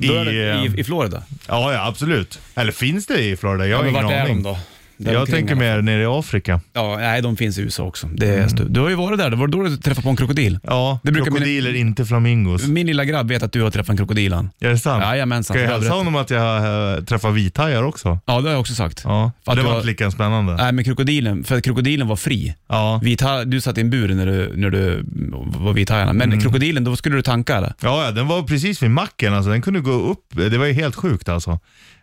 I,
Då är det,
eh,
i, I Florida.
ja, ja, absolut. Eller finns det i Florida? Jag har
men
ingen
vart är de
aning.
då? Där
Jag
omkring,
tänker
eller?
mer nere i Afrika.
Ja, nej, de finns i USA också. Det är stu- Du har ju varit där, det var då du träffade på en krokodil.
Ja,
Det brukar
krokodiler, inte flamingos.
Min lilla grabb vet att du har träffat en krokodil han.
Är det sant?
Jajamensan.
Ska jag
Det har jag
hälsa honom att jag äh, träffar vithajar också?
Ja, det har jag också sagt.
Ja,
För att
det
du
var
har- Äh.
inte lika spännande.
Nej, men krokodilen, för att krokodilen var fri.
Ja.
Vita, du satt i en bur när du, när du var vithajarna, men
Mm.
krokodilen, då skulle du tanka eller?
Ja, ja, den var precis vid macken alltså. Den kunde gå upp. Det var ju helt sjukt alltså.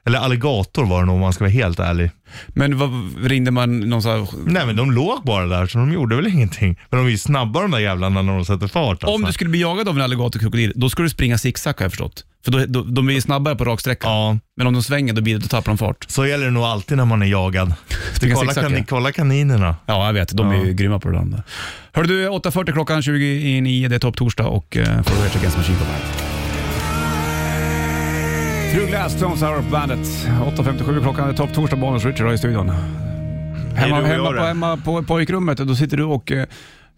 Eller alligator var det nog om man ska vara helt ärlig.
Men vad, ringde man någon så här,
Nej men de låg bara där så de gjorde väl ingenting. Men de är ju snabba de där jävlarna när de sätter fart alltså.
Om du skulle bli jagad av en alligatorkrokodil, då skulle du springa zigzag har jag förstått. För då, då, de är ju snabbare på raksträckan.
Ja,
Men om de svänger, då, blir det, då tappar de fart.
så gäller det nog alltid när man är jagad.
Springa
kolla,
zigzag,
kan,
ja.
kolla kaninerna.
Ja, jag vet. De är ju grymma på det där. Hörru du, 8.40 klockan 29, det är topptorsdag och eh, får du Rage Against the Machine på bandet. Through Glass, Stones Hour på bandet. 8.57 klockan, det är topptorsdag, Bonus Richard i studion. Hemma,
du och jag
hemma, på,
det.
hemma på pojkrummet, då sitter du och eh,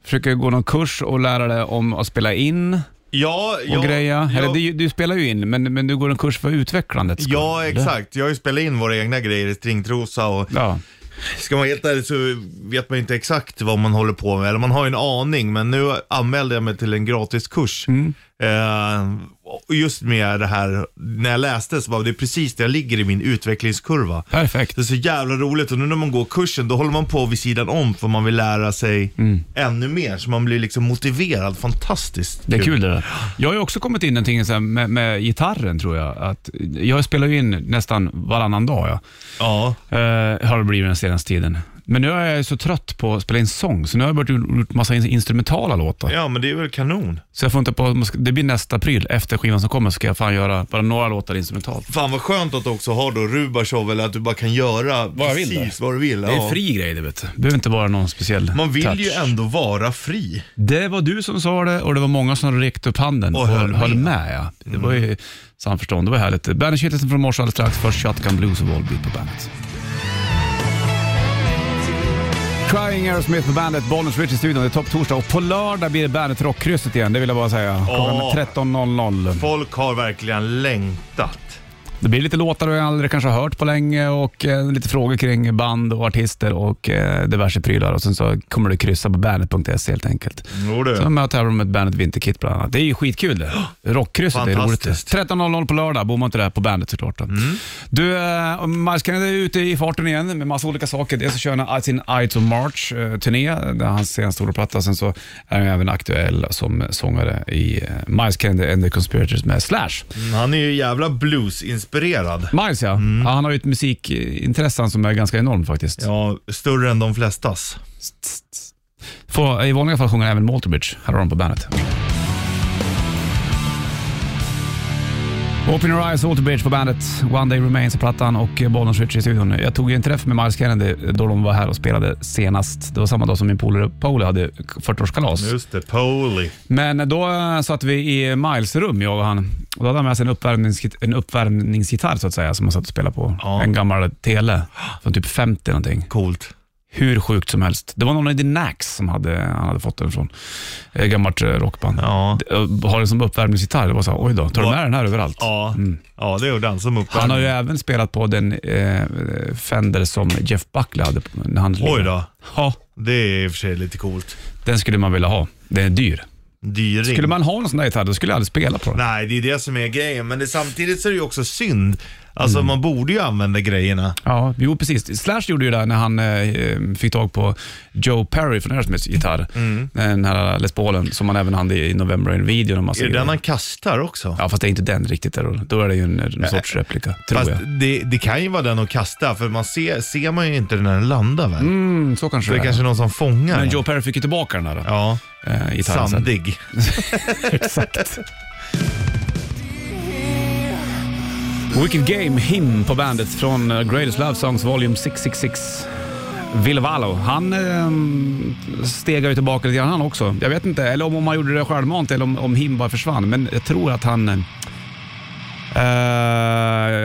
försöker gå någon kurs och lära dig om att spela in.
Ja,
och
ja,
greja.
ja.
Eller du, du spelar ju in, men, men du går en kurs för utvecklandet. ska
Ja,
du, eller?
exakt. Jag har ju spelat in våra egna grejer i stringtrosa och
Ja.
ska man vara helt ärlig så vet man ju inte exakt vad man håller på med. Eller man har ju en aning, men nu anmälde jag mig till en gratiskurs.
Mm.
Eh, och just med det här, när jag läste så var det är precis där jag ligger i min utvecklingskurva.
Perfekt.
Det är så jävla roligt och nu när man går kursen då håller man på vid sidan om för man vill lära sig
Mm.
ännu mer. Så man blir liksom motiverad. Fantastiskt
Det är kul det där. Jag har ju också kommit in någonting så här med, med gitarren tror jag. Att jag spelar ju in nästan varannan dag. Ja.
Ja.
Eh, har det blivit den senaste tiden. Men nu är jag ju så trött på att spela in sång, så nu har jag börjat gjort massa in- instrumentala låtar.
ja, men det är väl kanon.
Så jag får inte på, det blir nästa pryl. Efter skivan som kommer ska jag fan göra bara några låtar instrumentalt.
Fan vad skönt att du också har då Rubashov, eller att du bara kan göra
jag vill
precis
där.
vad du vill.
Det är
ja.
fri grej det vet du. Det behöver inte vara någon speciell
Man vill
touch.
ju ändå vara fri.
Det var du som sa det och det var många som räckte upp handen
Och höll med. Mm.
ja. Det var ju samförstånd, det var härligt. Bandet Kittelsen från morse alldeles strax, först Shotgun Blues och Volbeat på bandet. Crying Aerosmith på bandet, Bollnäs Rich i studion. Det är topp torsdag och på lördag blir det bandet Rockkrysset igen, det vill jag bara säga.
Ja.
Klockan 13.00.
Folk har verkligen längtat.
Det blir lite låtar du aldrig kanske har hört på länge och eh, lite frågor kring band och artister och eh, diverse prylar. Och sen så kommer du kryssa på bandet.se helt enkelt.
Jo
Så
du.
de här tävlar med bandet Vinterkit bland annat. Det är ju skitkul det. Rockkrysset är roligt. det.
Fantastiskt. Mm.
13.00 på lördag, bor man inte där på bandet såklart. Då. Du, eh, Miles Kennedy är ute i farten igen med massa olika saker. Dels så kör han sin Ides of March-turné, där hans senaste soloplatta. Sen så är han ju även aktuell som sångare i eh, Miles Kennedy and the Conspirators med Slash.
Mm, Han är ju jävla bluesinspirerad.
Miles ja. ja han har ju ett musikintresse han som är ganska enormt faktiskt.
Mm. Ja, större än de flestas.
Får i vanliga fall sjunger även Malterbridge. Här har de på bandet. Open your eyes, Alterbridge på bandet. One day remains på plattan och Bollen Switch i studion. Jag tog ju en träff med Miles Kennedy då de var här och spelade senast. Det var samma dag som min polare Pauli hade 40-årskalas.
Just det, Poli.
Men då eh, satt vi i Miles rum, jag och han. Och då hade han med sig en, uppvärmningsgit- en uppvärmningsgitarr så att säga, som han satt och spelade på.
Ja.
En gammal Tele från typ 50 någonting
Coolt.
hur sjukt som helst. Det var någon i The Nax som hade, han hade fått den från ett gammalt eh, rockband.
Ja.
D- och Har den som uppvärmningsgitarr. Det var så här, oj då, tar du med den här överallt?
Ja, ja det gjorde han som uppvärmning.
Mm. Han har ju även spelat på den eh, Fender som Jeff Buckley hade på- när han
Oj då.
Ja,
Det är i och för sig lite coolt.
den skulle man vilja ha. Den är dyr.
Dyring.
Skulle man ha någon sån där gitarr, då skulle jag aldrig spela på den.
Nej, det är det som är grejen. Men det, samtidigt så är det ju också synd. Alltså
Mm.
man borde ju använda grejerna.
Ja, jo precis. Slash gjorde ju det här när han eh, fick tag på Joe Perry från Aerosmiths gitarr.
Mm.
Den här Les Paulen som han även hade i november i en video. och en massa
Är det
grejer.
den han kastar också?
Ja, fast det är inte den riktigt. Där. då. Då är det ju en, en sorts replika, tror
Äh, Fast
jag.
det, det kan ju vara den att kasta, för man ser, ser man ju inte när den landar väl?
Mm, så kanske
Det är kanske någon som fångar
Men
den.
Joe Perry fick ju tillbaka den här då,
Ja,
eh, gitarren sen.
sandig.
Exakt. Wicked Game, Him på bandet från eh, Greatest Love Songs Volume 666. Vilvalo, han eh, stegar ju tillbaka lite grann han också. Jag vet inte, eller om, om han gjorde det självmant eller om, om Him bara försvann. Men jag tror att han... eh,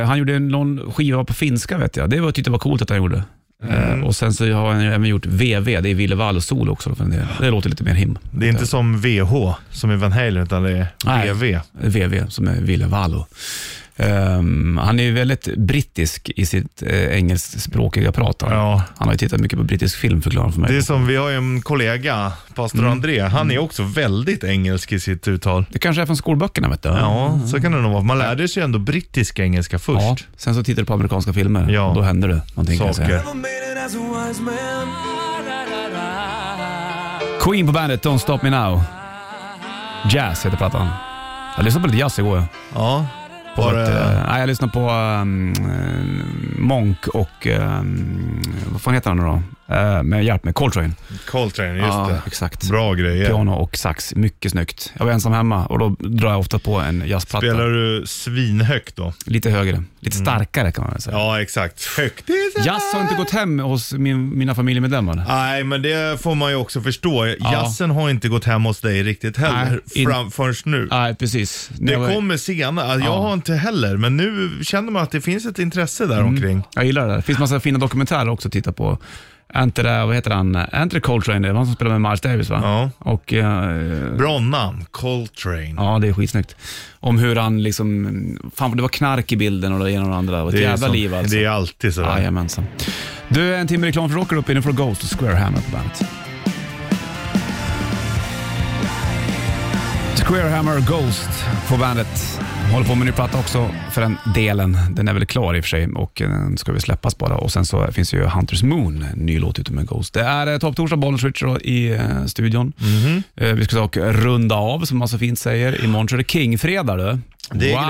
han gjorde en- någon skiva på finska vet jag. Det var, tyckte jag var coolt att han gjorde. Eh, och sen så har han ju även gjort VV, det är Ville solo också. då, för en del. Det låter lite mer him.
Det är inte som VH, som i Van Halen, utan det är
Nej.
VV.
VV som är Ville Vallo. Ehm, han är ju väldigt brittisk i sitt eh, engelskspråkiga prat. Han.
Ja.
han har ju tittat mycket på brittisk film förklarar han för mig.
Det är
Det,
som, vi har ju en kollega, pastor
Mm.
André, han är också väldigt engelsk i sitt uttal.
kanske är från skolböckerna vet du?
Ja, så kan det nog vara. Man lärde sig ändå brittisk engelska
Mm. Ja,
först.
Sen så tittar du på amerikanska filmer
Ja.
och då händer det någonting. kan jag säga.
Saker.
Queen på bandet, Don't Stop Me Now. Jazz heter plattan. Jag lyssnade på lite jazz igår.
Ja.
På
Var
ett,
det-
eh, nej, jag lyssnade på um, eh, Monk och, ehm, vad fan heter han nu då? Eh, med hjälp med Coltrane.
Coltrane, just
ja,
det.
exakt.
Bra grejer.
Piano och sax, mycket snyggt. Jag var ensam hemma och då drar jag ofta på en jazzplatta.
Spelar du svinhögt då?
Lite högre, lite starkare kan man väl säga.
Ja, exakt. Högt.
Jazz har inte gått hem hos min, mina familjemedlemmar.
Nej, men det får man ju också förstå. Jazzen har inte gått hem hos dig riktigt heller,
Nej, in-
fram, förrän nu.
Nej, precis. När jag var-
Det kommer senare. Alltså, Jag
Ja.
har inte heller, men nu känner man att det finns ett intresse
Mm.
där omkring.
Jag gillar det där. Det finns massa fina dokumentärer också att titta på. Är inte det, vad heter han, är inte det Coltrane? Det var han som spelade med Miles Davis va?
Ja.
Och, eh,
Bra namn, Coltrane.
ja, det är skitsnyggt. Om hur han liksom, fan det var knark i bilden och det ena och det andra. Det var ett
är
jävla
som-
liv alltså.
Det är alltid så.
Jajamensan. Du, en timme reklam för Rocker upp innanför Ghost och Square Hammer på bandet. Square Hammer Ghost på bandet. Håller på med en ny platta också för den delen. Den är väl klar i och för sig och eh, den ska väl släppas bara. Och sen så finns ju Hunters Moon, en ny låt ute med Ghost. Det är eh, Topp Torsdag, Bollnäs Richard i eh, studion.
Mhm.
Eh, vi ska dock runda av som man så fint säger. Imorgon så är det King-fredag du.
Det är
wow.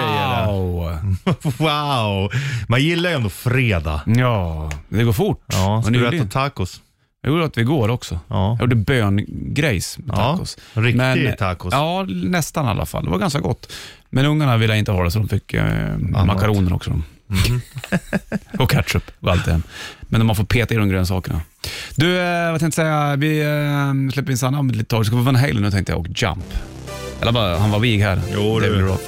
grejer, wow! Man gillar ju ändå fredag.
Ja, det går fort.
Ja,
Och
ska du
nyligen.
äta tacos?
Jag gjorde att vi går också.
Ja.
Jag gjorde böngrejs med
Ja,
tacos.
riktig tacos.
Ja, nästan i alla fall. Det var ganska gott. Men ungarna ville inte ha det så de fick eh, makaroner också. De.
Mhm.
och ketchup och allt det här. Men man får peta i de grönsakerna. Du, eh, vad tänkte jag säga? Vi eh, släpper in Sanna om ett litet tag. Ska vi få Van Halen nu tänkte jag och Jump. Eller bara, han var vig här.
Jo, du.
David Roth.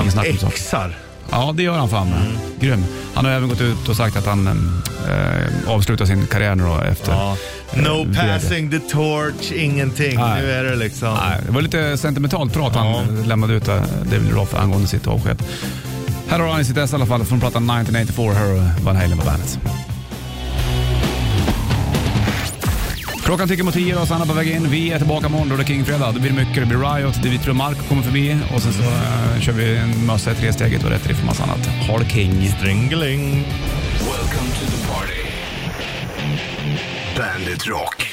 Inget snack om saken.
Exar.
Ja, det gör han fan. Mm. Grym. Han har även gått ut och sagt att han eh, avslutar sin karriär nu då efter
Ja.
Eh,
No
det är det.
passing the torch, ingenting.
Nej.
Nu är det liksom...
Nej, det var lite sentimentalt prat han lämnade ut där, David Roth angående sitt avsked. Här har han i sitt S i alla fall från plattan 1984, här är Van Halen på bandet. Klockan tickar mot tio och Sanna på väg in. Vi är tillbaka imorgon då det är Kingfredag. Det blir mycket, det blir Riot, Dimitri och Mark kommer förbi och sen så eh, kör vi en mössa i tresteget och rätt riff och massa annat. Ha det king!
Dringeling.
Welcome to the party. Bandit Rock.